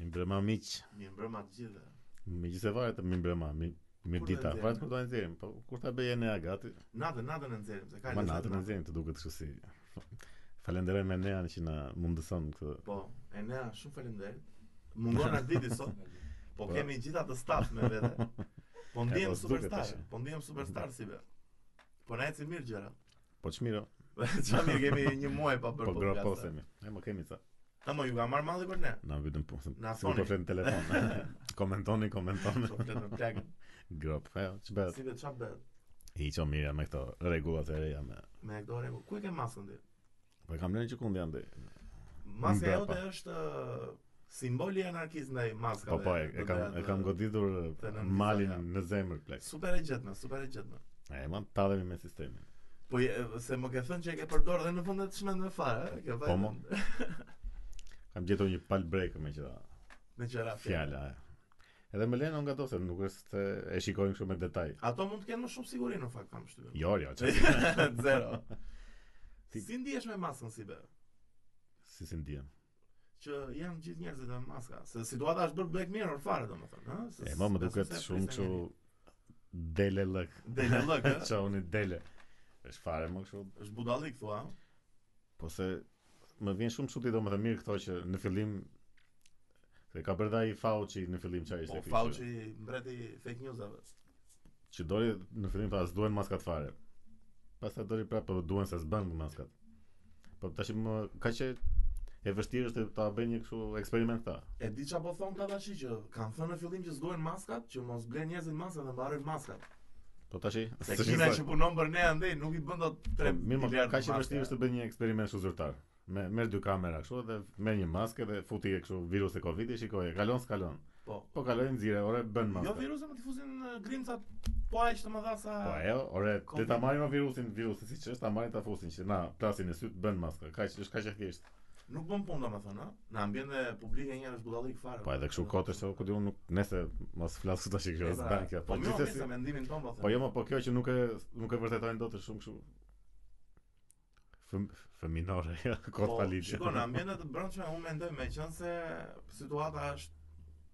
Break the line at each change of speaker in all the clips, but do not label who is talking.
mbrëma miq,
Mirë mbrëma të gjithëve.
miq se varet mi mbrëma, mi mirë
Kur ta
dita.
nxjerrim?
Varet kur ta nxjerrim, po kur ta bëjë ne gati,
Natën, natën e nxjerrim, se ka
ma
lezet
natën e nxjerrim të duket kështu si. Falenderoj me Nean që na mundëson këtë.
Po, e nea, shumë faleminderit. Mungon Arditi sot, po
Po.
kemi gjithë atë staf me vete. Po
po,
ndihem
s'duket
superstar,
tash.
po ndihem superstar si be. Po na ecin mirë gjëra.
Po çmiro,
Çfarë mirë kemi një muaj pa bërë
po
podcast.
groposemi. Ne më kemi sa.
Ta më ju ka marrë malli për ne.
Na mbytën punën.
Na
Sigur
thoni.
po flet në telefon. komentoni, komentoni.
Po flet me plagën.
Grop, ajo, ç'bëhet?
Si be çfarë bëhet?
I hiqo mirë me këto rregullat e reja me.
Me këto rregull. Ku e ke maskën ti?
Po e kam lënë që kund janë deri.
Maska
Mbrapa.
jote është ë, simboli i anarkizmit ndaj maskave.
Po po, e, e kam e kam goditur
të nënvisa,
malin
ja.
në zemër plak.
Super e gjetme, super e gjetme.
E mam tallemi me sistemin.
Po je- se më ke thënë që e ke përdorë dhe në fund e të shmenë me fare, e ke
Po, mo. Kam gjetur një pal break me qira
me qëra
fjala. e. Edhe më lënë nga dose, nuk është se e shikojnë kështu me detaj.
Ato mund të kenë më shumë siguri në fakt kam shtypën.
Jo, jo, që
Zero.
Ti-
Si ndihesh me maskën si be?
si si ndihem.
Që janë gjithë njerëzit me maska, se situata është bërë Black Mirror fare domethënë, ëh? Se
E më më
s'besoj
duket
se
shumë
prisë
kështu
njeri.
dele lëk.
Dele lëk, ëh?
Çoni dele. Është fare më kështu,
Është budallik thua, ëh?
po se më vjen shumë çudi domethënë mirë këto që në fillim se ka bërë dhe ai Fauci në fillim çfarë ishte
Po
kështu.
Fauci mbreti fake newsave.
që doli në fillim tha s'duhen maskat fare. Pastaj doli prapë po duhen se s'bën maskat. Po tash më ka që e vështirë është ta bëj një kështu eksperiment ta.
E di çfarë po thon këta tash që kanë thënë në fillim që s'duhen maskat, që mos blen njerëzit maskat dhe mbarojnë maskat.
Po tash
Se Kina që punon për ne andej nuk i bën dot 3
Po, Mirë, më
miliardë
ka që
maska.
vështirë është të bëj një eksperiment kështu zyrtar. Me merr dy kamera kështu dhe merr një maskë dhe futi kështu virus e Covid-i, shikoj, e kalon s'kalon.
Po.
Po kaloj nxirë, ore bën
Jo
maskë.
viruse më tifuzin grimcat po aq të më dha sa
Po ajo, ore, ti
Covid.
ta marrim o virusin, virusin siç është, ta marrim ta fusin që na plasin e syt bën maskë. Kaq është kaq e thjesht.
nuk bën punë domethënë, ëh. Në ambiente publike njerëz budallik fare.
Po edhe kështu kotër se ku diun nuk nëse mos flas këtu tash që
E,
është
pra,
bank kjo. Po
Po mirë,
gjithsesi.
mirë, se mendimin ton po them.
Po jo, ma, po kjo që nuk e nuk e vërtetojnë dot është shumë kështu. Fëm, fëminore, ja, kot falitje.
Po, Shikon, në ambiente të brendshme unë mendoj meqense situata është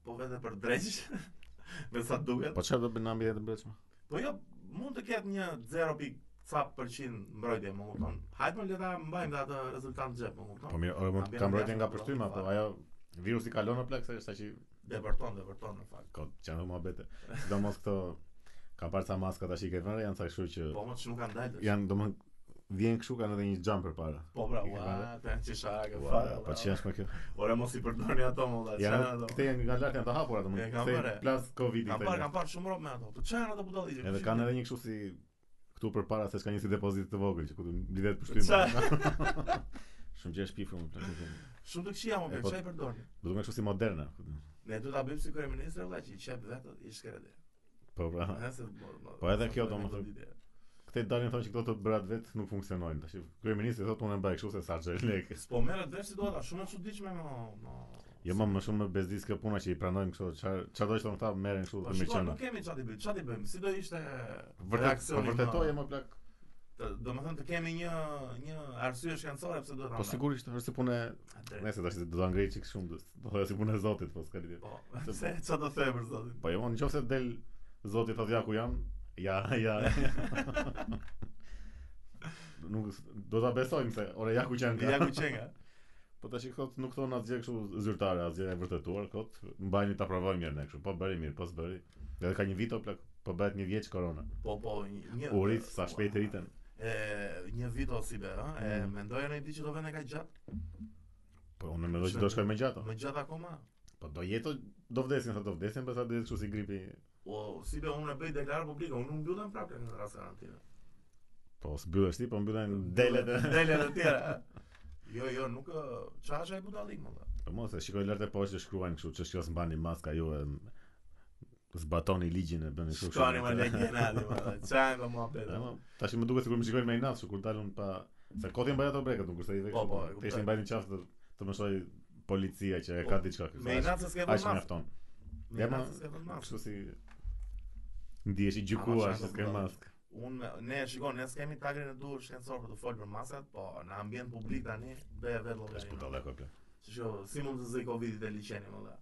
po vetë për drejtë me sa duket.
Po çfarë do bën ambi të brendshme?
Po jo, mund të ketë një 0 ca përqind mbrojtje, më kupton. Hajde më le ta mbajmë dhe atë rezultat në xhep, më
Po
kupton.
mirë, ora mund
Ambiente
të kam mbrojtje nga
brendshme,
përshtyma, po
brendshme,
ajo virusi kalon në plak se është tash
Depërton, depërton në fakt.
kot çanë mohabete. Sidomos këto ka parë sa maska tash i ke vënë, janë sa kështu që
Po më që nuk kanë dalë.
janë domthon vjen kështu kanë edhe një xham përpara.
Po pra,
I ke
ua,
parë?
të janë qishara, ke
Ua,
fare.
Po
ua.
ç'është më kjo?
Ore mos i përdorni ato më valla,
Janë
çfarë ato.
këte janë nga lart janë të hapura
E,
domthon.
kam
Këte
parë.
plas Covidi.
Kam
këte
parë,
janë.
kam parë shumë rrobë me ato. Po çfarë ato budalliqe?
Edhe kanë edhe një kështu si këtu përpara se s'ka një si depozit të vogël që ku të mblidhet për Shumë gjë e shpifur më plakë.
shumë të këqija më
E,
për
po-
çfarë i përdorni.
Do të më kështu si moderne. ku të-
Ne do ta bëjmë si kryeministër valla që i çep vetë i shkretë.
Po pra.
Nëse po.
Po edhe kjo, domethënë, Këte dalin thonë që këto të bërat vet nuk funksionojnë. Tash kryeministri thotë unë e mbaj kështu se sa xhel lek.
Po merret vesh situata shumë e çuditshme më më.
Jo më më shumë më bezdis kjo puna që i pranojmë kështu çfarë çfarë do të thonë këta merren kështu
Po
me
shikoj,
qenë.
nuk kemi çati bëj, çati bëjmë. Si do ishte
Vërtet, po
reaksioni
vërtetoje
më- Pra,
më plak.
të- Domethënë të kemi një një arsye shkencore pse duhet ta.
Po
ndajmë.
sigurisht është si punë, e-
A, drejt.
nëse tash do ta ngrejë çik shumë, do do thoya si punë e Zotit po s'ka lidhje.
Po, se çfarë do thënë për zotin?
Po jo, në qofë se del zoti thotë ja ku jam, ja, ja. nuk do ta besojmë se ore ja ku qenë.
Ja
ka.
ku qenga.
Po tash i kot nuk thon asgjë kështu zyrtare, asgjë e vërtetuar kot. Mbajni ta provojmë mirë ne kështu. Po bëri mirë, po s'bëri. Edhe ka një vit o plak, po bëhet një vjeç korona.
Po, po, një- një
U rrit sa shpejt rriten.
E një vit ose be, ëh. E
Mm.
mendoja në një ditë që do vënë ka gjatë,
Po unë mendoj që do shkoj me gjatë. o.
më gjatë akoma.
Po do jetë do vdesin, thotë do vdesin, pastaj do jetë kështu si gripi.
O, Po, si be unë e bëj deklarar publike, unë nuk mbyllem prapë në rast karantine.
Po s'mbyllesh ti, po mbyllen delet. e-
Delet e tjera. Jo, jo, nuk ë, çfarë është ai budallik më valla.
Po mos e shikoj lart e poshtë shkruajnë kështu, ç'është kjo s'mbani maska ju e m- zbatoni ligjin e bëni kështu.
Shkoni më lek gjenali më valla. Çfarë ka muhabet.
Ema, tash më duket sikur më shikojnë me inat, kështu, kur dalun pa se koti mbajnë ato breket, nuk është se i
Po,
vetë.
po, e kuptoj.
Teshin mbajnë qafë të, të më shoj policia që e
Po,
ka diçka kështu.
Me inatë se s'ke
Ai
vënë
që
masë.
mjafton.
Me
Ja, ma-
inatë se s'ke vënë masë.
Kështu si ndihesh i
Ama
gjykuar
çfarë
se s'ke
do të
maskë.
Unë, me- ne, shikon, ne s'kemi tagrin e dur shkencor për të folë për masat, po në ambient publik tani, be e vetë
Tash
logarinë. jo,
budallë apo.
Që si mund të zëj Covid-it e liqeni më dhe.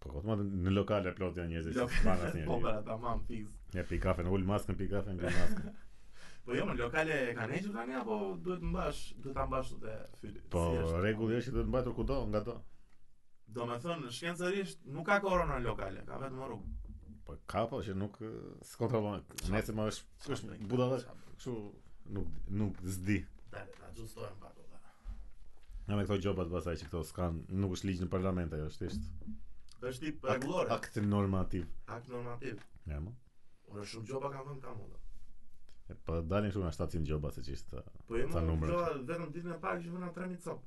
Po, po, në lokale plot janë njerëz që
Lok-
s'pan asnjë.
Po, pra, tamam, fix.
Ja pi kafe, ul maskën, pi kafe, ul maskën.
Po jo, më lokale kanë hequr tani apo duhet mbash, duhet ta mbash të fytyrë.
Po rregulli është që duhet mbajtur kudo, nga do.
Do me thënë, shkencërisht nuk ka korona në lokale, ka vetëm në rrugë.
Po ka po që nuk e, s'kontrollon. Nëse më është, është budallë, kështu nuk nuk zdi.
Dale, ta gjustojmë pak o da.
Nga me këto gjobat pasaj që këto s'kan, nuk është ligj në parlament ajo, është thjesht
Po, është tip
akt-
rregullore, akt,
akt normativ.
normativ.
Ja, mo.
Unë shumë gjoba kam vënë kam unë.
E, Po dalin këtu nga 700 gjoba se uh, çishtë.
Po jo,
Ca
më
numre?
gjoba vetëm ditën e parë që vëna 3000 cop.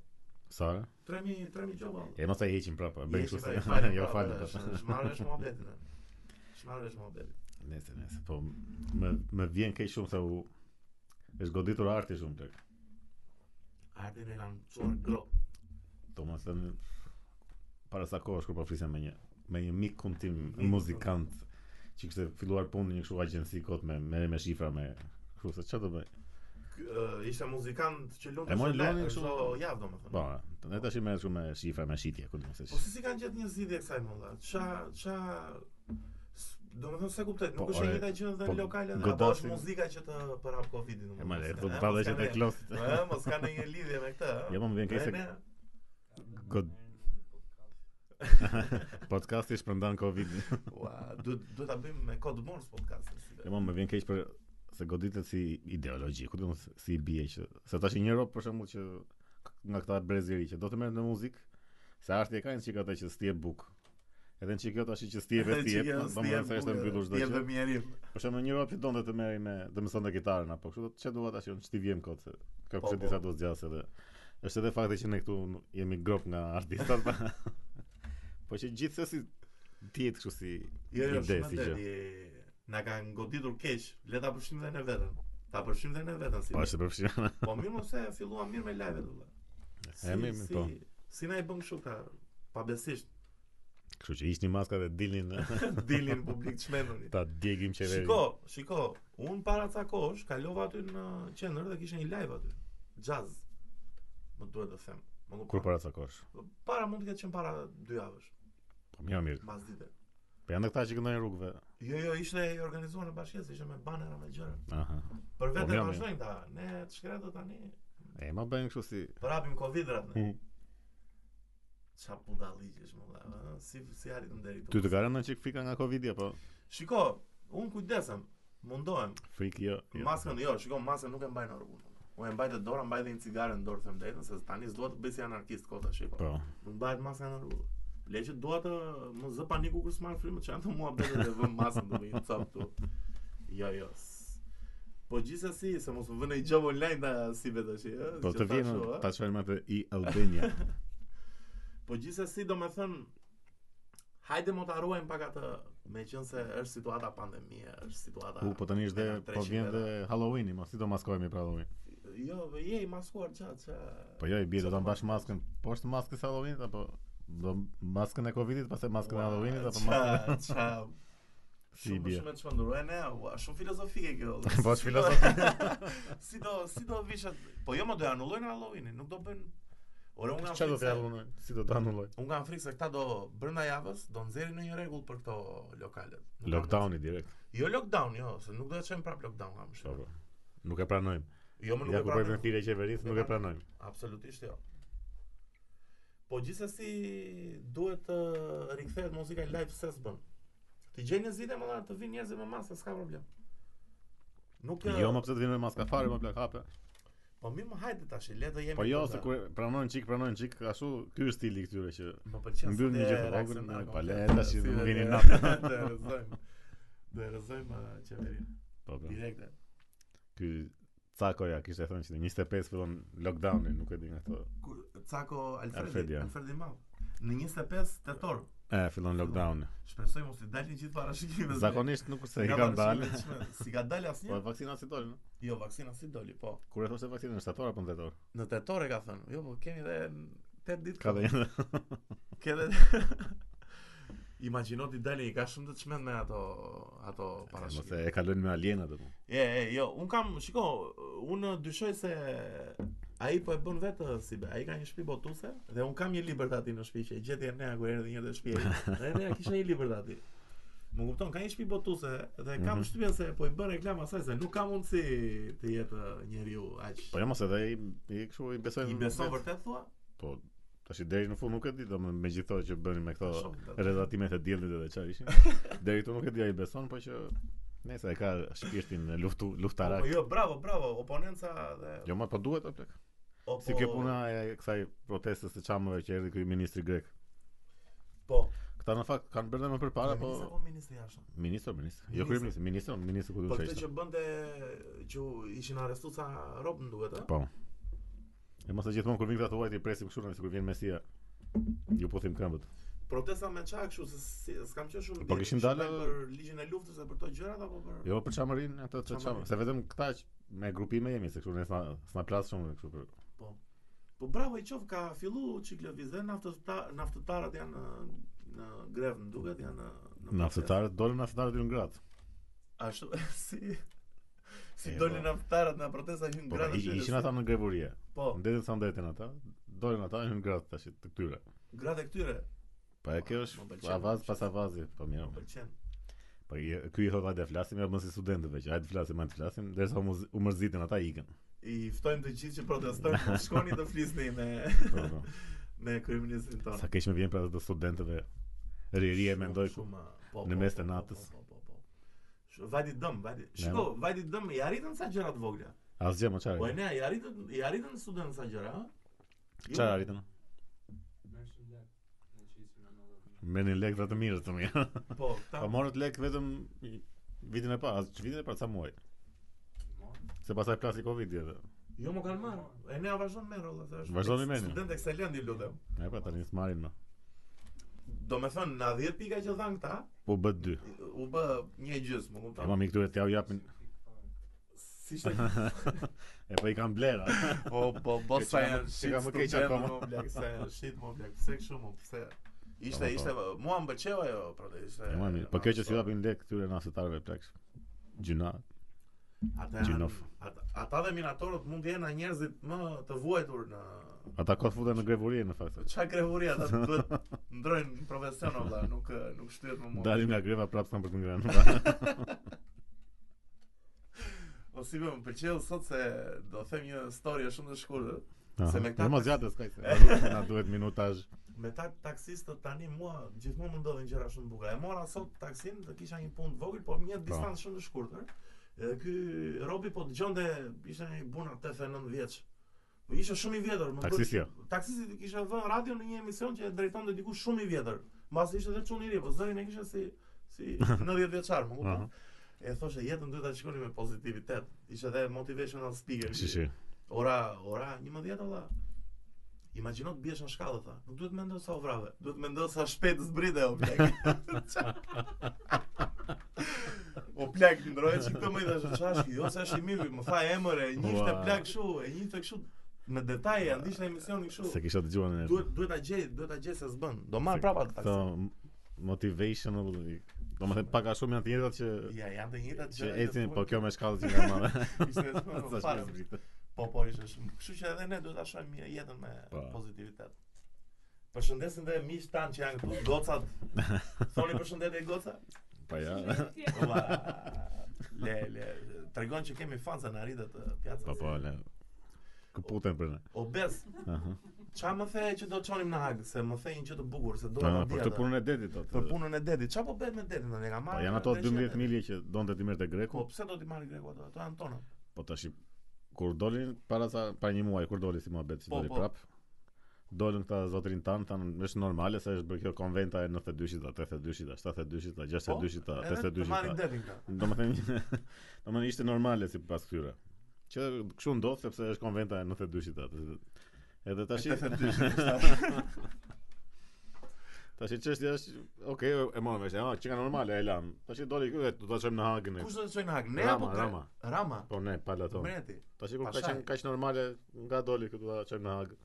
Sara?
3000 3000 gjoba.
E mos e heqin prapa, bëj kështu se jo fal.
Shmarrësh mohabetin. e. Shmarrësh mohabetin.
Nëse, nëse, po më më vjen keq shumë se u është goditur arti shumë tek.
Artin e kanë çuar grop.
Do më thënë, para sa kohë kur po flisem me një me një mik kum tim
Mik, po.
muzikant që kishte filluar punë në një kështu agjenci kot me me, me shifra me kështu se çfarë do bëj.
Ky, ë, Ishte muzikant që
E
lumtë
mori Loni
shumë lehtë,
kështu-
çdo javë domethënë.
Po, ne tash më shumë me shifra me shitje, ku do të
Po si si kanë gjetë një zgjidhje kësaj më valla? Ça ça s- Do me thënë se kuptoj, nuk
Po,
është e
ore,
njëjta gjë edhe
po,
në lokale dhe apo
godasin-
është muzika që të përhap Covidin
E po
domethënë.
më le, do
Eh,
të ta
mos
dashë
kanë
te
e-
klos.
Eh, mos ka ndonjë lidhje me këtë. eh?
Jo, po, më vjen keq se-
Ne- Po,
God- Podcasti shpërndan Covid.
Ua, duhet duhet ta bëjmë me kod bonus podcastin. si be.
E më më vjen keq për se goditet si ideologji, ku do të thonë si bie që se tash një rob për shembull që nga këta brezëri që do të merret në muzikë, se arti e kanë çika ata që s'ti e buk. Edhe në çikjo tash që s'ti e
Që
vesti,
janë
po, domethënë se është e
bukur,
mbyllur çdo
ti je
gjë.
vëmjerim.
Për shembull një rob që donte të merri me domethënë gitarën apo kështu, do të çe dua tash unë çti vjem kot se kjo
Po,
kush e
po.
di sa do zgjasë edhe. Është edhe fakti që ne këtu nu- jemi grop nga artistat. pa- po që gjithsesi dihet kështu si
Jo, jo,
ide
shumë
si
e
gjë.
deri. Na kanë goditur keq. Le ta përfshim dhe ne veten. Ta përfshim dhe ne veten si.
Po është e përfshirë.
Po mirë mos e filluam mirë me live-et valla.
E, mirë, mirë, po.
Si na i bën kështu ka pabesisht
Kështu që ishni maska dhe dilnin
dilin publik çmenduni.
ta djegim qeverin.
Shiko, shiko, un para ca kohësh kalova aty në qendër dhe kishte një live aty. Jazz. Më duhet të them. Më kupton?
Kur para sa kosh?
Para mund të ketë qenë para dy javësh,
Po mirë, mirë.
mbas dite.
Po janë këta që këndojnë rrugëve.
Jo, jo, ishte i organizuar në bashkëse, ishte me banera me gjëra.
Aha.
Për
Po,
vetë
mirë,
e
mirë.
vazhdojmë ta. Ne të shkretë tani.
E ma bëjnë kështu si
Përhapim Covid-rat ne.
Mhm.
Qa budalliqesh më valla. ëh, Si si arritëm deri
ty
këtu.
të ka rënë çik frika nga Covidi apo?
Shiko, un kujdesem, mundohem.
Frikë jo. jo.
Maskën jo, shiko, maskën nuk e mbaj në rregull. Unë e mbaj të dorë, mbaj dhe një cigare në dorë, them drejtën, se tani s'dua të bëj si anarkist kota, shiko.
Po.
Nuk mbahet maska në rregull. Le që dua të mos zë paniku kur s'marr frymën, çan të mua bëhet dhe vëm maskën do të cap këtu. Jo, jo. s- Po gjithsesi, se mos më vënë i job online ta si vetë tash, ë.
Po
që
të
thash
vjen
u, ë.
ta çojmë atë i Albania.
Po gjithsesi, domethën hajde mo ta ruajmë pak atë, meqense se është situata pandemie, është situata.
U po tani është dhe
Ata
po
treshin
vjen
vetë.
dhe Halloweeni, mos si do maskohemi për Halloween.
Jo, ve- je i maskuar ça ça.
Po jo, i bie do ta mbash maskën poshtë maskës së Halloweenit apo do maskën e Covidit, pastaj maskën e Halloweenit apo maskën
Ça, ça.
si i
Shumë
bie.
shumë e çmendur. E ne, ua, shumë filozofike kjo.
Po
Si
është filozofi.
do- Si do, si do vishat. Po jo, më do e anullojnë Halloweenin, nuk do bën. Ore, unë kam
Çfarë do
frikë
të
se-
anulloj? Si do të anulloj?
Unë kam frikë se këta do brenda javës do nxjerrin në një rregull për këto lokalet. Nuk kam
Lockdowni direkt.
besim. Jo lockdown, jo, se nuk do të çojmë prap lockdown kam
Po po.
shumë.
Nuk e pranojmë.
Jo, më nuk
Ja
e
ku bëjmë
pranoj.
fire qeverisë, nuk e pranojmë.
Absolutisht jo. Po gjithsesi duhet të rikthehet muzika live se s'bën. Ti gjej një zgjidhje më vonë të vinë njerëz me masa, s'ka problem. Nuk e-
Jo, më pse të vinë me maska fare, më plak hape.
Po mirë, më hajde tash, le të jemi.
Po jo,
këta.
se kur pranojnë çik, pranojnë çik, ashtu ky është stili këtyre që
më pëlqen
mbyllin
se
një
te
gjë të
relakson
vogël,
nga
po le,
komplet,
tash
si
nuk
dhe
vini
të-
natë.
Të rrezojmë. Të rrezojmë eh, qeverinë
po po.
direkte.
Ky Cakoja kishte thënë që në 25 fillon lockdowni, nuk e di nga këto.
Kur Cako
Alfredi,
Alfredi,
ja.
Alfredi i Madh. Në 25 tetor.
E, fillon lockdowni.
Shpresoj mos i dalin gjithë parashikimeve.
Zakonisht nuk se i
Nga
kanë dalë.
parashikimet çme, Si ka dalë asnjë?
Po vaksina si doli, no?
Jo, vaksina si doli, po.
Kur e thoshte vaksina në shtator apo në tetor?
Në tetor e ka thënë. Jo, po kemi dhe 8 ditë.
Ka dhe një.
Ke dhe Imagjino ti dali, ka shumë të çmend me ato ato
Mos
parashikime.
e kalojnë me aliena dopu.
E, e, jo, un kam, shiko, un dyshoj se Ai po e bën vetë si be. Ai ka një shtëpi botuse dhe un kam një libër tati në shtëpi që e gjeti Ernea kur erdhi një herë te shtëpia. Dhe Ernea kishte një libër tati. Më kupton, ka një shtëpi botuse dhe kam
Mhm.
shtypjen se po i bën reklam asaj se nuk ka mundësi të jetë njeriu aq.
Po jo mos edhe i, i kështu i besoj
I
në
beson
vetë.
vërtet thua?
Po tash i deri në fund nuk e di domethënë megjithëse që bënin me këto
Shumë, tati.
redatimet e diellit edhe çfarë ishin. Deri këtu nuk e di ai beson, po që nëse e ka shpirtin në luftu luftarak.
Po jo, bravo, bravo, oponenca dhe
Jo, më po duhet o plak.
opo,
Si kjo puna e kësaj protestës së çamëve që erdhi ky ministri grek.
Po.
Këta në fakt kanë bërë dhe më përpara,
Kryeminist
po
apo ministri i jashtëm.
ministër, ministër.
Ministër.
Jo kryeminist, ministër, ministër ku
Po
duhet
këtë
të
që
ishte.
bënte që ishin arrestuar sa rob më duhet, ë?
Po. E mos e gjithmonë kur vin këta të huajt i presim kështu nëse kur vjen Mesia. Ju po them këmbët.
Protesta me çka kështu se si, s'kam qenë shumë
Po
vjet,
kishin
kishin
dalë-
dalë për ligjin e luftës dhe për këto gjërat apo për
Jo për çamërin, ato të
Çamërin.
çamë. Se vetëm këta që me grupime jemi, se kështu ne s'na s'na plas shumë kështu për.
Po bravo i qof ka fillu çik lëviz dhe naftëta- naftëtarët janë në, në grev më duket janë në, në protest.
Naftëtarët dolën naftëtarët në gratë.
Ashtu si si
E,
dolin
po.
naftëtarët në protesta hyn
Po
gratë.
i-
shëndes.
ishin ata në grevurie.
Po,
Ndetin sa ndetin ata, dolën ata në gratë tash të këtyre.
gratë e këtyre.
Po e kjo
Ma-
është
ma pëlqen,
avaz
Ah, më
pas
pëlqen.
avazi, po mirë.
Më pëlqen.
Po i- ky i thot hajde flasim, ja mos si studentëve që hajde flasim, hajde flasim, derisa u muz- u mërziten ata ikën.
I ftojmë të gjithë që protestojnë, mos shkoni të flisni me
Po, po.
me kryeministrin tonë.
Sa keq më vjen pra të studentëve. Riria e
Shumë,
mendoj ku.
shumë, po,
në
po,
mes të
po, po,
natës.
po, po, po, po. Sh- Vajti dëm, vajti. Shiko, vajti dëm, i arritën sa gjëra të vogla.
Asgjë më
Po e
çfarë.
ne, i arritën, i arritën studentët sa gjëra, ha? Jo,
Çfarë arritën? Merrin lek dhe të mirë të mirë.
Po, ta
Po morët lek vetëm i- vitin e parë, as vitin e parë sa muaj. Se pastaj plasi Covid edhe.
Jo më kanë marrë. E ne vazhdon me rrolla thash.
Vazhdoni merrni.
Student ekselent i lutem.
Ne pra tani smarin më.
Do me thënë, na 10 pika që dhanë këta,
Po bë dy.
u bë një gjysmë,
E
më
ma
kupton.
mi këtyre t'ja u japin.
Si ishte?
E po i kanë blera.
Po, po, po
Që
sa
ka më-
janë
që
shit
ka më keq
studentë,
akoma.
më blek, sa janë shit më blek. Pse kështu më, pse? Ishte,
Po, po.
ishte, mua më pëlqeu ajo, pra, ishte.
E ma mi, po kjo që si japin lek këtyre nasetarëve plaks. Gjuna.
Ata janë-
Gjinov.
ata- Ata dhe minatorët mund të jenë njerëzit më të vuajtur në
Ata kot futen në grevuri në fakt.
Qa krehuri ata duhet ndrojnë në profesion o vlla, nuk nuk shtyhet më mua.
Dalim nga greva prapë thamë për të ngrënë.
O si më pëlqeu sot se do them një story shumë të shkurtër. Se me këta-
Ne mos gjatë skaj. se Na duhet minutazh.
Me ta taksistët tani mua gjithmonë më ndodhin gjëra shumë bukura. E mora sot taksin, do kisha një punë të vogël, po një distancë shumë të shkurtër. Edhe ky Robi po dëgjonte ishte një buna 89 vjeç. Po Ishte shumë i vjetër, më duket
Taksisti. jo.
taksisti kishte vënë radio në një emision që e drejtonte diku shumë i vjetër. Mbas ishte edhe çun i ri, po zërin e kishte si si 90 vjeçar, më kupton?
Aha.
E thoshe jetën duhet ta shikoni me pozitivitet. Ishte edhe motivational speaker.
Shi shi.
Ora, ora 11 valla. Imagjino të biesh në shkallë tha. Nuk duhet mendoj sa u vrave, duhet mendoj sa shpejt zbrite o plak. Qa- o plak ndrohet që këtë më i dashur çash, jo se është i mirë, më tha emër e njihte
Ua.
plak kështu, e njihte kështu me detaje, ndishte emisioni kështu.
Se kisha dëgjuar në.
Duhet duhet ta gjej, duhet ta gjej se s'bën. Do marr
Se
prapa të
Këto
taksi.
motivational, do më thënë pak a shumë janë të njëjtat që
Ja, janë të njëjtat
që
gjëra
ecin,
thuan.
po kjo me shkallë që nga madhe.
Ishte e thuan,
Sa
fare.
shpesë këtë.
Po, po, ishte shumë. Kështu që edhe ne duhet ta shohim mirë jetën me
Po.
pozitivitet. Përshëndesim dhe miq tanë që janë këtu, gocat. Thoni përshëndetje goca?
Po ja.
Ua. Le, le, tregon që kemi fansa në arritët të pjacës.
Po po, le. Këputen për ne.
Obes,
Aha.
qa më the që do të qonim në hagë, se më the një që të bukur, se do
Ah,
të
Për këtë punën e detit thotë.
Për punën e dedit, qa po bëhet me dedit, në ka
Po
marrë...
janë ato
dhe
12
shete.
milje që donte ti merrte
Po,
greku,
pse do t'i marrë greku ato, ato janë tona.
po tash i- kur dolin para sa para një muaji kur doli si muhabet si
Po,
doli
po.
prap. Dolën këta zotrin tan, tan, është normale se është bërë kjo konventa e 92-shit, a 82-shit, a 72-shit, a 62-shit, a
Po, Edhe të
82-shit.
marrin
a-
dedin këta.
Do më thënë, do më thënë ishte normale si pas këtyre. Që kështu ndodh sepse është konventa e 92-shit atë. Edhe tash
E 82-shit,
Tash çështja është, okay, e morëm vesh, ah, çka normale e lam. Tash doli këtu, do ta çojmë në Hagën. e-
Kush do të qojnë në hagë, ne apo
Rama,
tre?
Rama.
Rama.
Po ne, palaton.
Mreti.
Tash kur ka
Pasaj.
qenë kaq normale, nga doli këtu do ta çojmë në Hagë.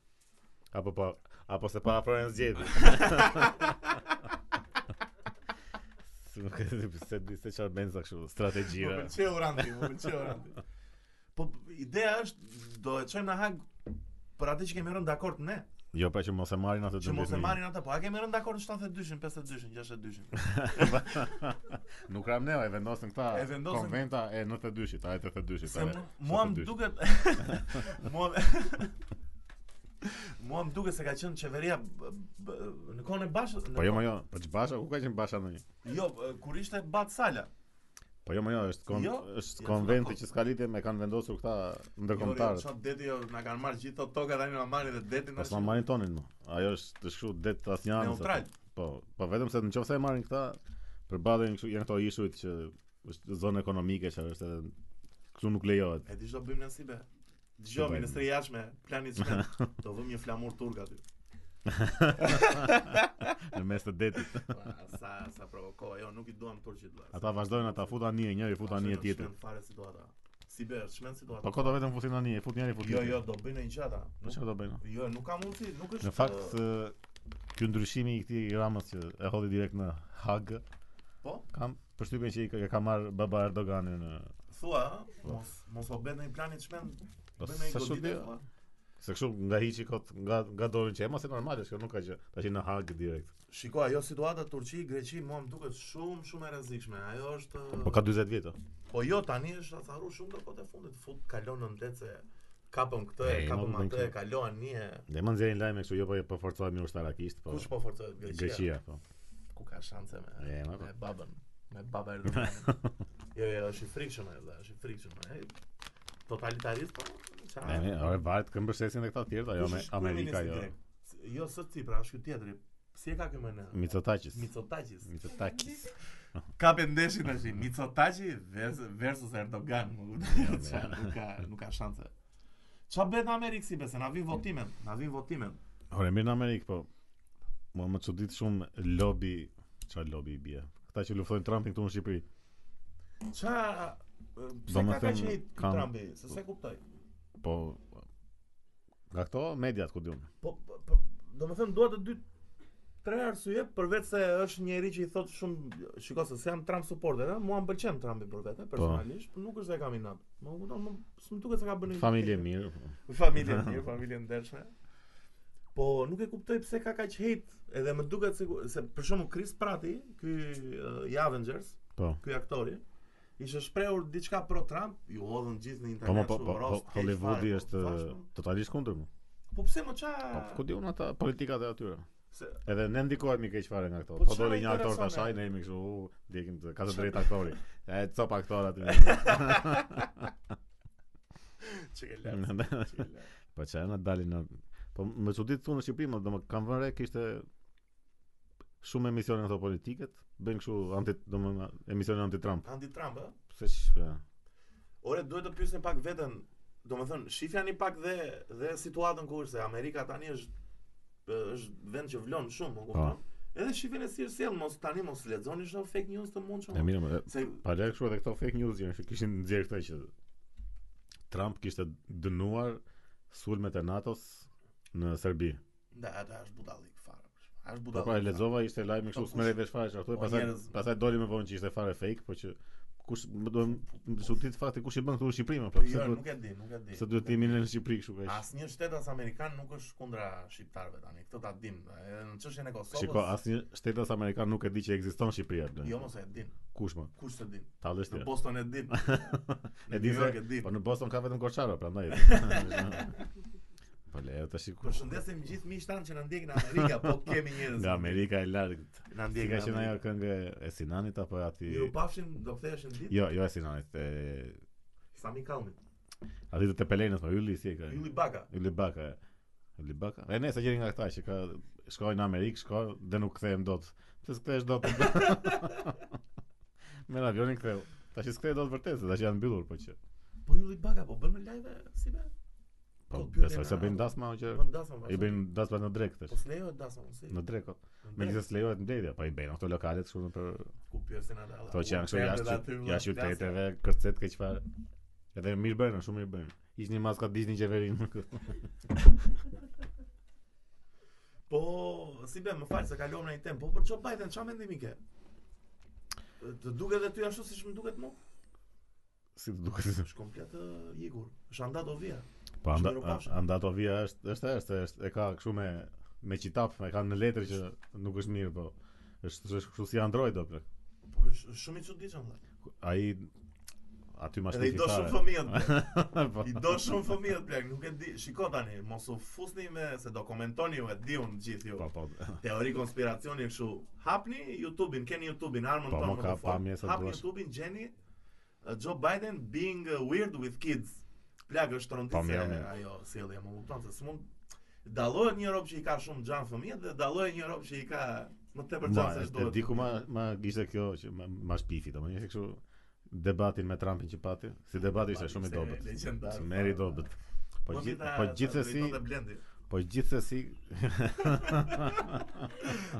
Apo pa, apo se pa afrojnë zgjedhje. Se nuk e di se di se çfarë bën sa kështu
Më
strategjira.
Po, pëlqeu Randi, më pëlqeu Randi. Po p- ideja është do e çojmë në Hag për atë që kemi rënë dakord ne,
Jo pra që mos e marrin atë
që mos
12.000.
e marrin ata, po a kemi rënë dakord në 72-shin, 52-shin, 62-shin.
Nuk ram neva, e vendosën këta
E vendosën-
konventa e 92-shit, a e 82-shit.
Se
a e
mu- mua
72-shit.
më duket mua mua më duket se ka qenë qeveria b- b- në kohën e bashës. në
Po jo,
kohën-
më jo, po ç'basha, ku ka qenë basha ndonjë?
Jo, b- kur ishte Bat Sala.
Po jo, më jo, është kon,
Jo,
është
jo,
konventi
s'ka
që s'ka lidhje me kanë vendosur këta
Ndërkombëtarët.
ndërkombëtarët.
jo, Çfarë deti jo, na kanë marrë gjithë ato toka tani na marrin dhe detin.
Po
tash.
s'ma marrin tonin më. Ajo është të shkru det asnjë
Neutral.
Po, po vetëm se nëse e marrin këta, përballen kështu janë këto ishujt që është zonë ekonomike që është edhe këtu nuk lejohet.
E di çdo bëjmë nasibe. Dëgjoj
Ç'do bëjmë?
ministri i jashtme, plani çmen. Do vëmë një flamur turk aty.
Në mes të detit.
Ua, Sa sa provokoi, jo nuk i duam turqit vllaz.
Ata vazhdojnë ata fut anije njëri, fut anije tjetër.
Çmen fare situata. Si be, çmen situata.
Po kodo vetëm fusin anije, fut njëri, fut
Jo,
tjetër.
jo, do bëjnë një gjata.
Po çfarë do bëjnë?
Jo, nuk ka mundësi, nuk është.
Në fakt ë, ky ndryshimi i këtij i Ramës që e hodhi direkt në Hag,
Po?
kam përshtypjen që i ka- e ka marr baba Erdogani në
Thua, ë, mos mos o bën në planin çmen,
Po
bën në
sa
goditë.
shumë
thua.
Se kështu nga hiçi kot nga nga dorën që e mos e normale, kjo nuk ka gjë. Tash në Hag direkt.
Shiko, ajo situata Turqi, Greqi, mua më duket shumë shumë e rrezikshme. Ajo është
Po ka 40 vjet. o.
Po jo, tani është atharu shumë do kote fundit, fut kalon në ndetë se kapëm këtë,
E,
e, kapëm
nuk bën
atë, e
kjo.
kalon një,
Dhe më nxjerrin lajme kështu, jo po po forcohemi ushtarakisht, po
kush po forcohet Greqia?
Greqia po.
Ku ka shanse me,
E, ma po.
me babën, me baba Erdoganin. jo, jo, është i frikshëm e, dhe, është i frikshëm e. Totalitarist, po, qa-
Ne, ne, ore varet këmbë mbështesin edhe këta të tjerë, ajo
Kush
me
është
Amerika jo.
kryeministri grek? S- Jo, së Cipra, është ky tjetri. Si e ka ky më në?
Mitsotakis.
Mitsotakis.
Mitsotakis.
Ka pendeshin tash Mitsotaki vers- versus Erdogan. Më
Jo,
kupton? Qa, nuk ka nuk ka shanse. Ç'a bëhet në Amerikë si bese, na vin votimet, na vin votimet.
Ore mirë në Amerikë, po. Mua më çudit shumë lobi, çfarë lobi i bie. Këta që luftojnë Trumpin këtu në Shqipëri.
Ç'a
Do
pse
me
ka ka
thënë,
qenë
kam-
Trumpi, se se kuptoj.
Po nga këto mediat ku diun.
Po, po- po do të them dua të dy tre arsye përveç se është njëri që i thot shumë shiko se se jam Trump supporter, ëh, mua m'pëlqen Trumpi për vete personalisht, po. nuk është se e kam inat. Më kupton, më s'm duket se ka bën një-
Familje mirë.
familje e mirë, familje e ndershme. Po nuk e kuptoj pse ka kaq hate, edhe më duket se, se për shembull Chris Prati, ky uh, i Avengers,
Po.
ky aktori, ishte shprehur diçka pro Trump, ju hodhën gjithë në
Po mo,
internet.
po, po,
shumë,
po,
roast, keq
Hollywoodi
fare,
është
po, thashmë,
totalisht kundër mu.
Po pse më qa...
Po, ku diun ata politikat e atyre.
Se,
Edhe ne ndikohemi keq fare nga këto.
Po
Po
çfarë
doli
i
një aktor
intereson,
tash ai
e?
ne jemi kështu, u, ndjekim të ka të drejtë aktori. E cop aktor aty.
që ke lart, që ke lart.
po çfarë na dalin në Po më çudit thonë në Shqipëri, më domo kanë vënë re kishte shumë emisione ato politiket, bën kështu anti domo emisione anti Trump.
Anti-Trump, ëh?
Se që,
Ore, duhet të pyesin pak veten, domethënë, shifja një pak dhe dhe situatën ku është se Amerika tani është është vend që vlon shumë, më
Po.
kupton? Edhe shifjen e si është sjell, mos tani mos lexoni çdo fake news të mundshëm.
e mirë më.
Se
Pa lë kështu edhe këto fake news që kishin nxjerr këtë që Trump kishte dënuar sulmet e NATO-s në Serbi.
da, da është budallik fare. Është
Po pra e
budallik.
lexova ishte lajmi kështu
Po,
smere
kush-
vesh fare çartu e
po,
pastaj
njerëz-
pastaj doli më vonë që ishte fare fake, po që kush më do të thotë fakti kush i bën këtu në Shqipëri më po
Po
pse
jo,
duhet
nuk e di, nuk e di.
pse duhet të jemi në Shqipëri kështu kaq.
Asnjë shtet as amerikan nuk është kundra shqiptarëve tani. Këtë ta dim. Edhe në çështjen e Kosovës.
Shiko, asnjë shtetas amerikan nuk e di që ekziston Shqipëria blen.
Jo, mos e din.
Kush më?
Kush se din?
Tallesh ti.
Në Boston e din.
E
Në
di
New York
se-
e din.
Po në Boston ka vetëm Korçaro, prandaj. Po le, tash ku
Përshëndesim gjithë miqtan që na ndjekin në Amerika, po kemi njerëz
nga Amerika e largët.
Na
Si
ndjekin.
ka qenë ajo këngë e Sinanit apo aty?
Ju pafshin do ktheheshin ditë
Jo, Po. jo e Sinanit, e
Sami Kalmi.
aty të Pelenës, po Ylli si e ka.
Ylli Baka.
Yli Baka. Yli Baka. E ne sa gjeni nga këta që ka shkoj në Amerikë, shkoj dhe nuk kthehem dot. Pse s'kthehesh dot? Me avionin ktheu. Tash s'kthej dot vërtet, se tash janë mbyllur po që.
Po Ylli Baka po bën me live si be?
Po
Po, pyetjen
besoj se
a-
bëjnë dasma o që
Bën dasmë
Po. i
vazhdim.
bëjnë dasma në drekë
Po
tash.
s'lejo dasmë si.
Në drekë.
Në
Me
drek,
gjithë lejohet mbledhja, po i bëjnë ato lokalet kështu në për
ku pyesin ata.
ato Po, që janë kështu
Unë
jashtë
Po, aty, unë
jashtë
flasim.
qyteteve, kërcet keq fare. Edhe mirë bëjnë, shumë mirë bëjnë. Ishin maska dishin qeverinë.
Po, si be, më fal se kalom në një temp. Po për Joe Biden çfarë mendimi ke? Të duket edhe ty ashtu siç më duket mua?
si të duket.
Është komplet e, igur. Është andat ovia.
Po anda,
Shëndro Pasha.
a- Andatovia është është është është e ka kështu me me qitap, e kanë në letër që nuk është mirë, po është është kështu si Android do plak.
Po është është shumë i çuditshëm. valla.
Ai aty ma
Edhe
shtefi
i do shumë
fare.
fëmijët. plak.
Po.
I do shumë fëmijët plak, nuk e di. Shiko tani, mos u fusni me se do komentoni ju e diun gjithë ju.
Po po.
Teori konspiracioni kështu. Hapni YouTube-in, keni YouTube-in, armën
Po,
tonë.
mo
më
ka
të fort.
pamje sa
Hapni
duash.
YouTube-in, gjeni uh, Joe Biden being uh, weird with kids. Plak është tronditse
Pamje, pamje.
ajo sjellje, më kupton se s'mund dallohet një rob që i ka shumë xhan fëmijë dhe dallohet një rob që i ka më tepër
Ma,
xhan se
e- e
ç'duhet.
di ku ma ma ishte kjo që ma, ma shpifi, domethënë ishte kështu debatin me Trumpin që pati, si debati ishte shumë i
Ishte
dobët.
legjendar.
Se Meri dobët. Po
Mua
gjith,
mita
po
sa
gjithsesi,
drejton dhe Blendi.
po gjithsesi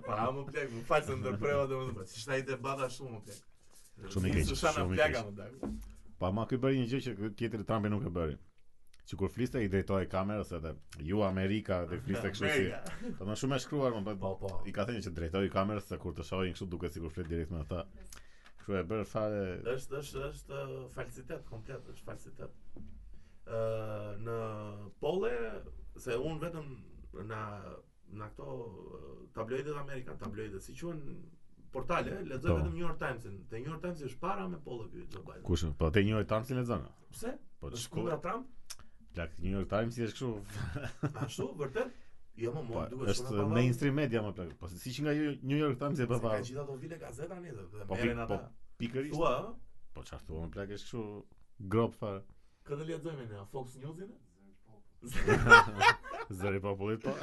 Pa, më plak, më falë se ndërpreva dhe më dhe, që shna i debata shumë më plak.
Shumë i keq,
Sushana
shumë i
plaka
keq.
më dak.
Pa ma ky bëri një gjë që ky tjetri Trumpi nuk e bëri. Që kur fliste i drejtoi kamerës edhe ju Amerika dhe fliste kështu si.
Mega.
Po më shumë e shkruar më
Po,
po.
po.
I ka thënë që drejtoi kamerës se kur të shohin kështu duket sikur flet direkt me ata. Kështu e bër fare
është është është uh, falsitet komplet, është falsitet. Ë në pole se un vetëm na na këto uh, tabloidet amerikan, tabloidet si quhen portale, lexoj
Po.
vetëm New York Times-in. Te New York Times është para me pole ky Joe Biden.
kush po te New York Times i lexon.
Pse?
Po
Është
shku
kundra Trump?
plak New York Times i është kështu.
Ashtu vërtet? Jo, më
Po
mua duhet
është mainstream media më plak. Po si që nga ju- New York Times e
Po
bë
pa.
pa.
Ka gjithë ato vile gazeta një dhe
Po
merren
pi-
ata.
po pikërisht.
Thua, ë?
Po çfarë thua më plak është kështu grop fare.
këtë lexojmë ne Fox News-in?
Zëri popullit po.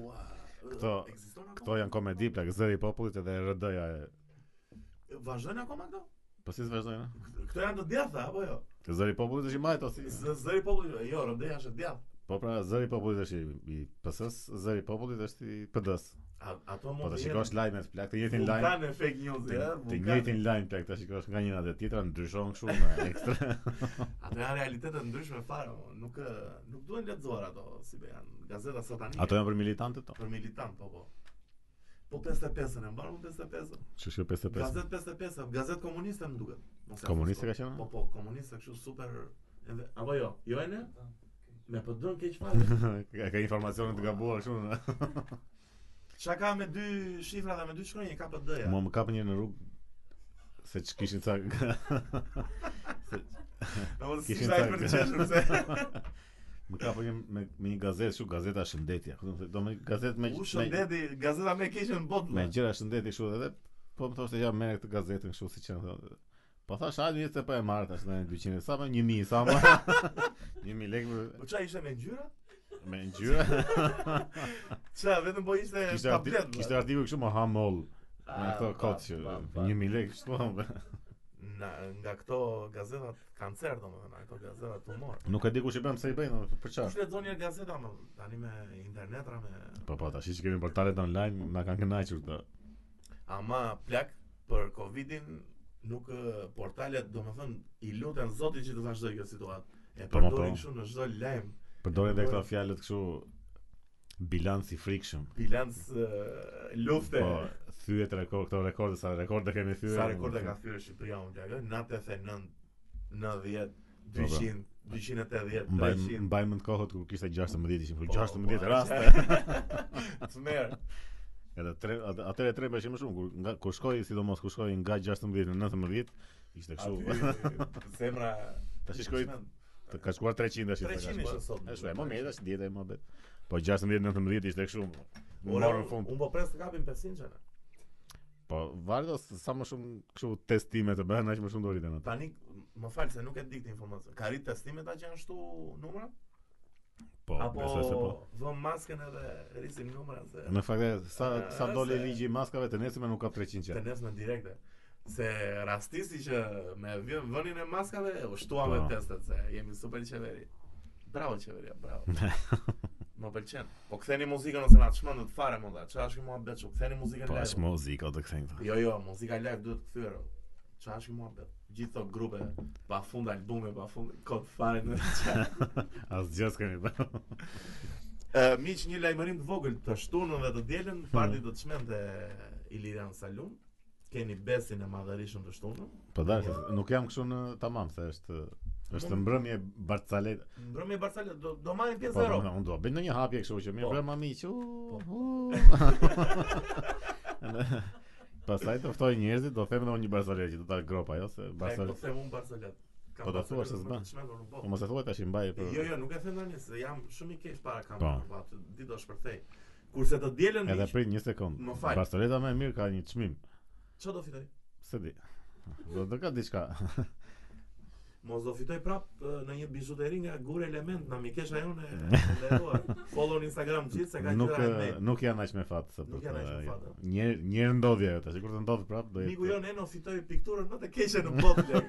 Ua.
Këto-
ekziston
Kto
akoma?
janë komedi plak zëri popullit edhe RD-ja. e-
Vazhdojnë akoma këto?
Po si s'vazhdojnë? a?
Këto janë të djathta apo jo?
Të Zëri i popullit është i majtë osi.
Z- Zëri populli, jo, Rodeja është e djathtë.
Po pra, zëri i popullit është i- i PS-s, zëri i popullit është i PD-s.
A- Ato
Po
mund
të
të
shikosh lajmet, plak, të jetin lajm.
Vulkan e fake eh, news,
Të
ja,
të
vulkan.
njëjtin lajm plak, ta shikosh nga njëra te tjetra ndryshon kështu me ekstra.
Ato janë realitete ndryshme fare, mo. nuk ë, nuk duhen lexuar ato, si be janë gazeta satanike.
Ato janë për militantët to.
për militant, po po. Po 55-ën e mbar, po 55-ën.
Ç'është kjo 55?
Gazet 55, gazet komuniste më duket. Mos e
Komuniste ka
afrosko.
qenë?
Po po, komuniste kështu super edhe- apo jo, jo e ne? Me po dëm keq fare.
Ka ka informacione të gabuar kështu. në-
Çka ka me dy shifra dhe me dy shkronjë ka PD-ja.
Mua më kap një në rrugë se ç'kishin ca
Po mos
kishin
ishte ai
tak.
për të qeshur se.
më kap një me, me një gazetë, kështu gazeta shëndetja. Do të thonë gazetë me
U
me-
shëndeti, gazeta më e keqe në botë.
Me
Me
gjëra shëndeti kështu edhe po më thoshte ja merr këtë gazetën kështu siç janë thonë. Po thash hajde jetë po e marr tash në 200 sa më 1000 sa më. 1000 lekë me-
Po çfarë ishte me ngjyra?
me ngjyra.
Çfarë vetëm po ishte
Kishte arti-
tablet.
kishte artikull kështu më hamoll me
Ah,
këto
pa,
kot që
pa, pa.
1000 lekë kështu. ama.
Na, nga këto gazetat kancer domethënë, ato gazetat tumor.
Nuk e di kush i bën pse i bën ama për
Kush
çfarë.
lexon një gazeta më tani me internetra me
Po po tash që kemi portalet online na kanë kënaqur këto.
ama plak për Covidin nuk ë, portalet domethënë i luten Zotin që të vazhdoj kjo situatë. E
Po, po,
përdorin
po.
kështu në çdo lajm,
Përdorin edhe këto fjalët kështu bilanc i frikshëm.
bilanc ë, lufte.
Po, thyet rekord, këto rekorde sa rekorde kemi thyer.
Sa rekorde ka thyer Shqipëria unë plagë? 99, 90, 200, 280,
Po, Mbaj
300.
mbaj mend kohët kur kishte 16 ishin kur
Po,
16
po,
raste.
Të merr.
Edhe tre at- atëre tre bashkë më shumë kur nga kur shkoi sidomos kur shkoi nga 16 në 19 ishte kështu.
Aty zemra
Tash i shkoi të ka shkuar 300 tash i ka
300
shkuar.
ishte sot.
Është e më mirë tash dieta e mohabet. Po 16 në 19 ishte kështu. Morën
Morën
fund.
Unë po pres të kapim 500 çana.
Po varet o sa më shumë kështu testime të bëhen aq më shumë do rriten ata.
Tani më fal se nuk e di këtë informacion. Ka rrit testimet atë që janë shtu numra?
Po, besoj se po.
Apo vëm masken edhe rrisim numrat se
Në fakt e, sa sa
Eh,
doli
se-
ligji i maskave të nesërme nuk ka 300
të
qenë.
nesme direkte. Se rastisi që me vjen- vënien e maskave u shtua me
Po.
testet se jemi super qeveri. Bravo qeveria, bravo. Më pëlqen. Po ktheni muzikën ose na çmendët fare më dha. Çfarë është mua beçu? Ktheni muzikën
Po
live.
është muzikë o të kthejnë këta.
Jo, jo, muzika live duhet të kthyer. Çfarë është mua bet? Gjithë këto grupe pa fund albume, pa fund kod fare në çfarë.
Asgjë s'kemi bërë.
Ë, miq një lajmërim të vogël të shtunën dhe të dielën,
Hmm.
parti do të çmende Ilirian Salum. Keni besin e madhërishëm të shtunën.
Po dashë, nuk jam kështu në tamam se është Është mbrëmje Barcalet.
Mbrëmje Barcelona do do marrin pjesë
Hmm. Po,
në Europë.
unë dua bëj ndonjë hapje kështu që mirë
Po.
bra mami që. Pastaj do ftoj njerëzit, do them edhe unë një Barcalet që do ta grop ajo se
Barcelona. Po
Barcalet.
them un Barcelona. Kam
Po ta
Barcelona
thuash se
më
s'ban.
të shmendur, nuk po.
Po mos e thuaj tash i mbaj për
Jo, jo, nuk e them tani se jam shumë i keq para
Po.
kamerave, po atë ditë do shpërthej. Kurse të dielën
edhe
miq,
prit një sekond.
Më fal.
Barceleta më e mirë ka një çmim.
çfarë do fitoj?
Se di. Do të ka diçka.
Mos do fitoj prap e, në një bizhuteri nga Gur Element, na mikesha jone e nderuar. Follow në Instagram gjithë se ka
Nuk eh,
gjëra e mej.
nuk janë aq me fat se jo.
Nuk janë aq me fat, ë.
Një një ndodhje ajo tash, kur të ndodh prap do
Miku
jetë.
jon Eno fitoi pikturën më të keqe në botë lek. E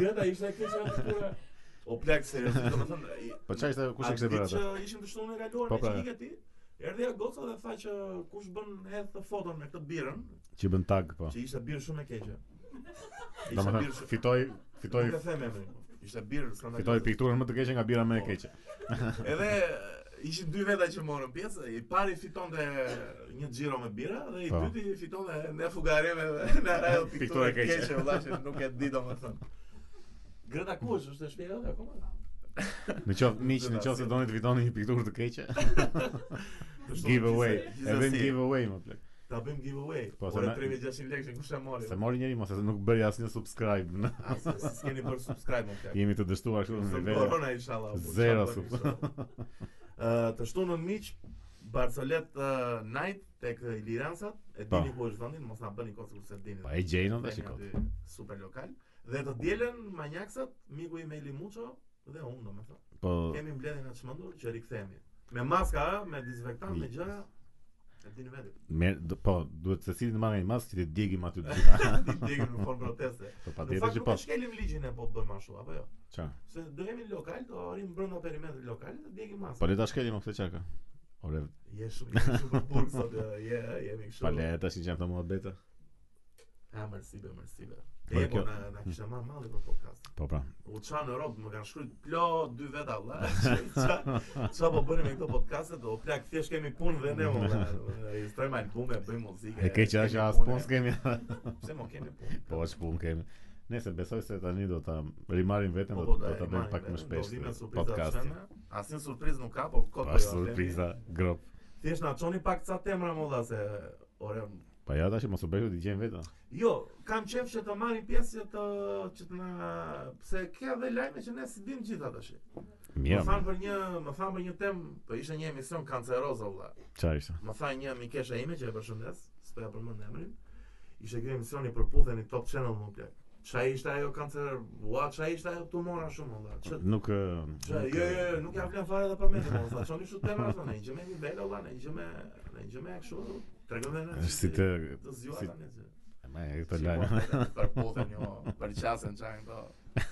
gënda ishte e keqe në pikturë. O plak seriozisht, domethënë i-
Po çfarë ishte kush e kishte bërë
Atë
atë?
ditë që ishim të shtunën e kaluar
Po,
në
pra.
çike ti. Erdhi ja goca dhe tha që kush bën hedh të foton me këtë birën,
Që bën tag po.
që ishte birë shumë e keqe. Ishte birë
Domethënë
shumë.
fitoi
Nuk
fitoi
e them emrin. Ishte birë skandaloze.
fitoi pikturën më të keqe nga bira më e
Po.
keqe.
Edhe eh, ishin dy veta që morën pjesë, i pari fitonte një xhiro me bira dhe i
Po.
dyti fitonte në fugare me në rajo
Pikturë
pikturë
e
e
keqe.
keqe, vëllai, nuk e di domethënë. Greta ku është? Është në shtëpi jote akoma?
Në qoftë miq,
Zëta,
në qoftë se
si.
doni të fitoni një pikturë të keqe,
Kështu,
giveaway,
gjithsesi-
e bëjmë
gjithsesi,
giveaway më plak.
Ta bëjmë giveaway.
Po,
Po,
se
Ore
na-
3600 lekë kush e mori?
Se mori njëri mos e nuk bëri asnjë subscribe. Në.
Asë, si s'keni bërë subscribe më kërë.
Jemi të dështuar kështu në
Së
nivel.
korona inshallah. po,
Zero
çfarë bëni,
sub.
inshallah. Ë, Të shtu në miq, Barcelet ë, Night tek Iliransat, e
Po.
dini ku është vendi, mos na bëni kocë kurse dini.
Po e gjejnë
Dhe
dhe shikoj.
aty Super lokal. Dhe të dielën manjaksat, miku i me Limuço dhe unë domethënë.
Po
Kemi mbledhjen e çmendur që rikthehemi. Me maska, ë, me dezinfektant, me gjëra. E dini vetë.
mer, d- po duhet se cilin të marrë një maskë që të djegim aty të gjitha.
Ti djegën në formë proteste.
Po
Në
patjetër
fakt
që
nuk
po.
e shkelim ligjin e po bëjmë ashtu, apo jo?
Ça?
Se do jemi në lokal, do arrim brenda perimetrit lokal dhe djegim
Po
masë.
le ta shkelim më këtë çaka. Ore,
Je shumë je shumë burg sot, e, je jemi kështu.
pa le tash i jam të muhabete.
Ha mersi be, mersi be.
Po,
E po
kjo-
na na kishte marrë malli për podcast.
Po pra.
U ça në Europë më kanë shkruajt plot dy veta valla. Ça ça po bëni me këto podcaste, do plak thjesht kemi punë dhe ne valla. Registrojmë albume, bëjmë muzikë.
E keq
kemi
është që as
punë.
punë s'kemi.
Pse mo kemi punë?
Po as punë kemi. Nëse besoj se tani do ta rimarim veten,
Po,
do
po,
do
e
ta bëjmë
marrim
pak më
vetëm, do
shpesh
vinë me surpriza
podcast.
të shëna. Asnjë surprizë nuk ka, po kot
Po
po
as
ja, themi.
surpriza, grop.
Thjesht na çoni pak ca temra më dha se ore
Po ja tash mos u bëj të gjejmë vetëm.
Jo, kam qef që të marrim pjesë që të që të na pse ke edhe lajme që ne si dim gjithë tash. Më
Mirë.
than për një, më than për një temë, po ishte një emision kanceroz valla.
Çfarë ishte?
Më tha një mikesha ime që e përshëndes, s'po ja përmend emrin. Ishte ky emisioni për puthen i Top Channel më plak. Qa ishte ajo kancer, ua qa ishte ajo tumora shumë valla. Ç
Nuk ë,
Jo,
nuk,
jo,
ë,
jo, nuk ja vlen fare edhe për mendin, mos ta çoni kështu temën atë, ne gjë me një bel valla, ne gjë me, ne gjë me kështu. Tregojmë ne.
është si të
të zgjuar
si-
tani. se-
më këto
Si
lajme.
po, Për puthen jo, për qasën çan këto.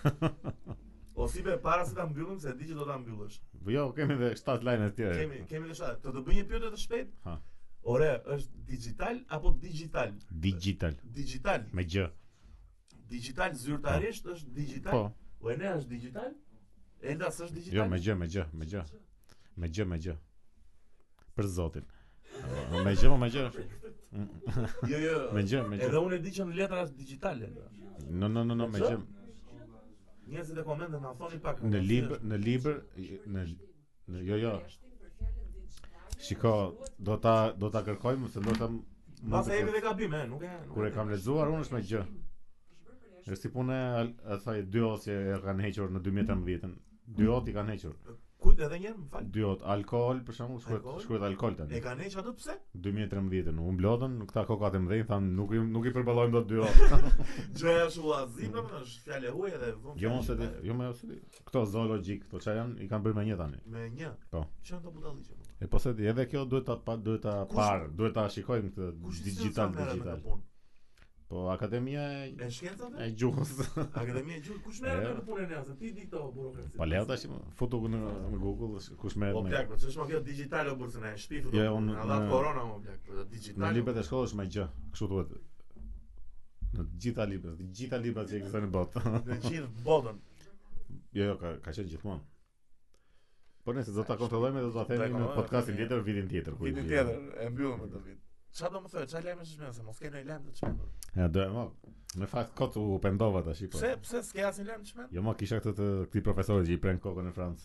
O si be para se ta mbyllim se di që do ta mbyllësh.
Jo, kemi edhe 7 lajme të tjera.
Kemi kemi edhe shtatë. Do të bëj një pyetje të shpejt.
Ha.
Ore, është digital apo digital?
Digital
Digital.
me gjë.
Digital zyrtarisht është digital.
Po,
O e ne është digital? Elda s'është digital.
jo me gjë, me gjë, me gjë. Me gjë, me gjë. Për zotin. Me gjë, po, me gjë.
Jo, jo.
Me gjë, me gjë.
Edhe unë e di që në letra është digitale.
No, no, no, no, me gjë.
Njerëzit e komente na thoni pak.
Në libër, në libër, në në jo, jo. Shiko, do ta do ta kërkojmë se do ta m- mund
Mbas
të
e
ket-
jemi dhe gabim, e, nuk e. nuk
Kur e
di.
kam lexuar unë është me gjë. Është si puna e al- asaj dy osje e kanë hequr në 2018-ën. Dy ot i kanë hequr.
Kujt edhe një herë, më fal.
Dy ot alkool për shembull shkruhet
Alkool?
shkruhet alkool tani.
E kanë heqë atë pse?
2013-ën u mblodhën, këta kokat e mëdhenj thanë nuk i, nuk i përballojmë dot dy ot.
Gjoja është ullazim, më është fjale huaj edhe vonë.
Mm. jo mos e di, jo më se di. Këto zoologjik, këto çfarë janë, i kanë bërë me një tani.
Me një.
Po.
Që janë të budalli që
E po se di, edhe kjo duhet ta pa, duhet ta
Kush-
parë, duhet ta shikojmë këtë
Kush i
digital
digital,
digital.
digital.
Po akademia e,
E shkencave?
e gjuhës.
Akademia e Gjuhë, kush merret me
E.
këtë punën e asaj? Ti di këto burokraci.
Pa Po, leo tash futu në, në Google kush merret
Po
me.
plak, po ç'është më kjo digital o burse na e shpifu.
Jo, unë-
na dha
në-
korona më plak, po digital.
Në librat e shkollës me gjë, kështu thuhet. Në të gjitha librat, të gjitha librat që ekzistojnë në botë.
në gjithë botën.
jo, jo, ka ka qenë gjithmonë. Po nëse do ta kontrollojmë dhe do ta themi në
kontrollojmë,
podcastin
themi-
tjetër vitin tjetër kur. i
Vitin
vjen.
tjetër e mbyllëm këtë vit. Qa do më thënë, qa lajme shëshmenë, se mos ke në i lajme të shmenë.
Ja, do e mo. Në fakt kot u pendova tash po.
Pse, pse s'ke asë një lajme të shmenë?
Jo, më kisha këtë të këtij profesori që i pren kokën në Francë.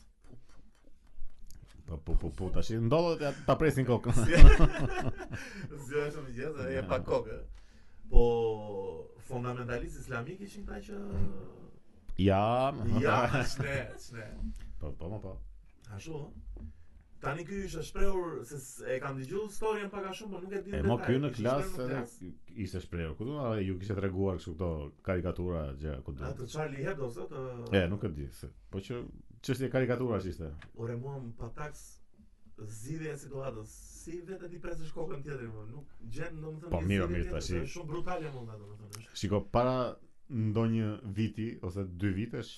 Po po po po tash ndodhet ja ta presin kokën.
Zjo është më gjithë, e pa kokë. Po, fundamentalist islamik ishin ta që...
Ja. më-
Ja, shne, shne.
Po po më po.
Ashtu, ëh. Po. Tani ky ishte shprehur se s- e kam dëgjuar storyn pak a shumë, por nuk e di.
E
në
mo
detaj.
ky në
Ishte
klasë
shprehur në
edhe ishte shprehur. Ku do na ju kishte treguar kështu këto karikatura gjë ku do.
Atë Charlie Hebdo sot.
E, nuk e di se. Po që çështja e karikaturash ishte.
Ore mua më pataks zgjidhja e situatës. Si vetë ti presësh kokën tjetër më, po nuk gjen domethënë.
Po,
një
mirë,
zgjidhje
mirë,
tjetër,
tash
se
i-
Është shumë brutale mund ta domethënë. është.
Shiko, para ndonjë viti ose dy vitesh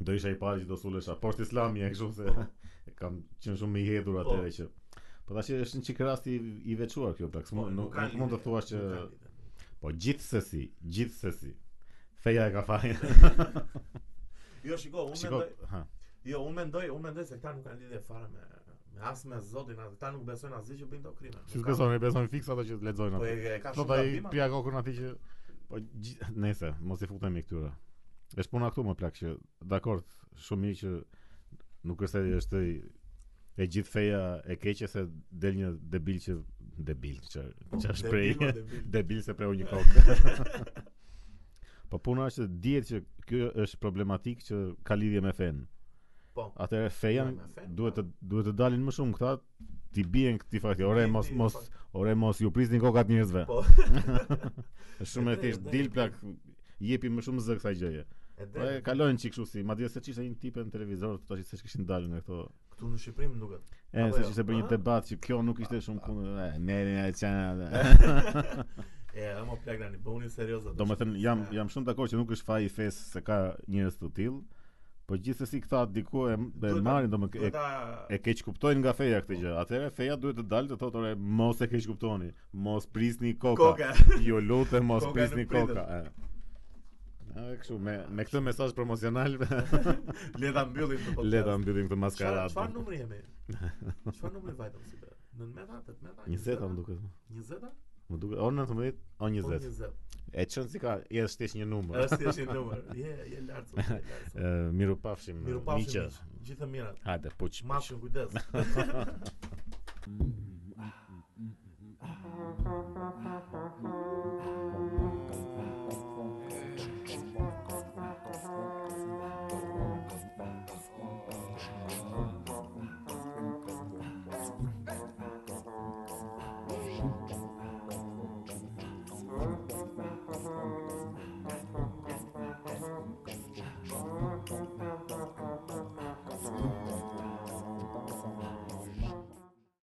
do isha i pari që do sulesha poshtë islami e kështu se kam qenë shumë i hedhur
Po.
atëherë që Po tash është një çik rast i, i veçuar kjo plaks. Nuk, nuk,
Po, ka
nuk mund të
lidhje,
thuash që
nuk ka lidhje.
po gjithsesi, gjithsesi. Feja e ka fajin.
Jo, shiko, unë
Shiko,
mendoj,
ha.
jo, unë mendoj, unë mendoj se këta nuk kanë lidhje fare me me as me Zotin, as këta nuk besojnë asgjë që bëjnë këto krime. Nuk
Si
kanë-
beson, e beson fiksa ato që lexojnë
Po
atë.
e e ka
Po
shumë
ai
gabima.
pia kokën aty që po gjith- nese, mos i futemi këtyre. Është puna këtu më plak që dakord, shumë mirë që nuk është se është i- e gjithë feja e keqe se del një debil që debil që që është prej
Debil, o, debil.
debil se preu një kokë. po puna është që dihet që ky është problematik që ka lidhje me fen.
Po.
Atëherë feja
Me fen,
duhet
po.
të duhet të dalin më shumë këta ti bien këtij fakti. Ore
Ti-
mos
ti-
mos
po.
ore mos ju prisni kokat njerëzve.
Po.
Është shumë e thjesht dil plak jepi më shumë zë kësaj gjëje. Po
E
e
drejtë,
kalojnë çik kështu si, madje se çishte një tipe në televizor tash se kishin dalë nga këto.
këtu në Shqipëri më duket.
E
Apo
se
jo?
kishte bërë një
Aha.
debat që kjo nuk ishte shumë kundër. e, Ne ne ne çana.
E, e më plak tani, bëuni serioz atë.
Do me thënë, jam, jam shumë dakord që nuk është faj i fesë se ka njerëz të tillë, po gjithsesi këta diku e, e
Duhet ta-
marrin, do me e,
duhet ta
e keq kuptojnë nga feja këtë gjë. Atëherë feja duhet të dalë të thotë ore mos e keq kuptoni, mos prisni koka.
koka.
Ju lutem mos
Koka
prisni
nuk pritet.
koka. E. A, kështu me me këtë mesazh promocional
Le ta mbyllim këtë podcast.
le ta mbyllim këtë maskaradë.
Po, Çfarë numri jemi? Çfarë numri vajtëm si be? 19, 18,
20 më duket.
20?
Më duket o 19 o 20.
20.
E çon si ka, je shtesh një numër.
Është thjesht një numër. Je, je lart.
Ë, miru pafshim.
Miru
miqë.
pafshim. miq. Gjithë të mirat.
Hajde, puç.
Mashën kujdes.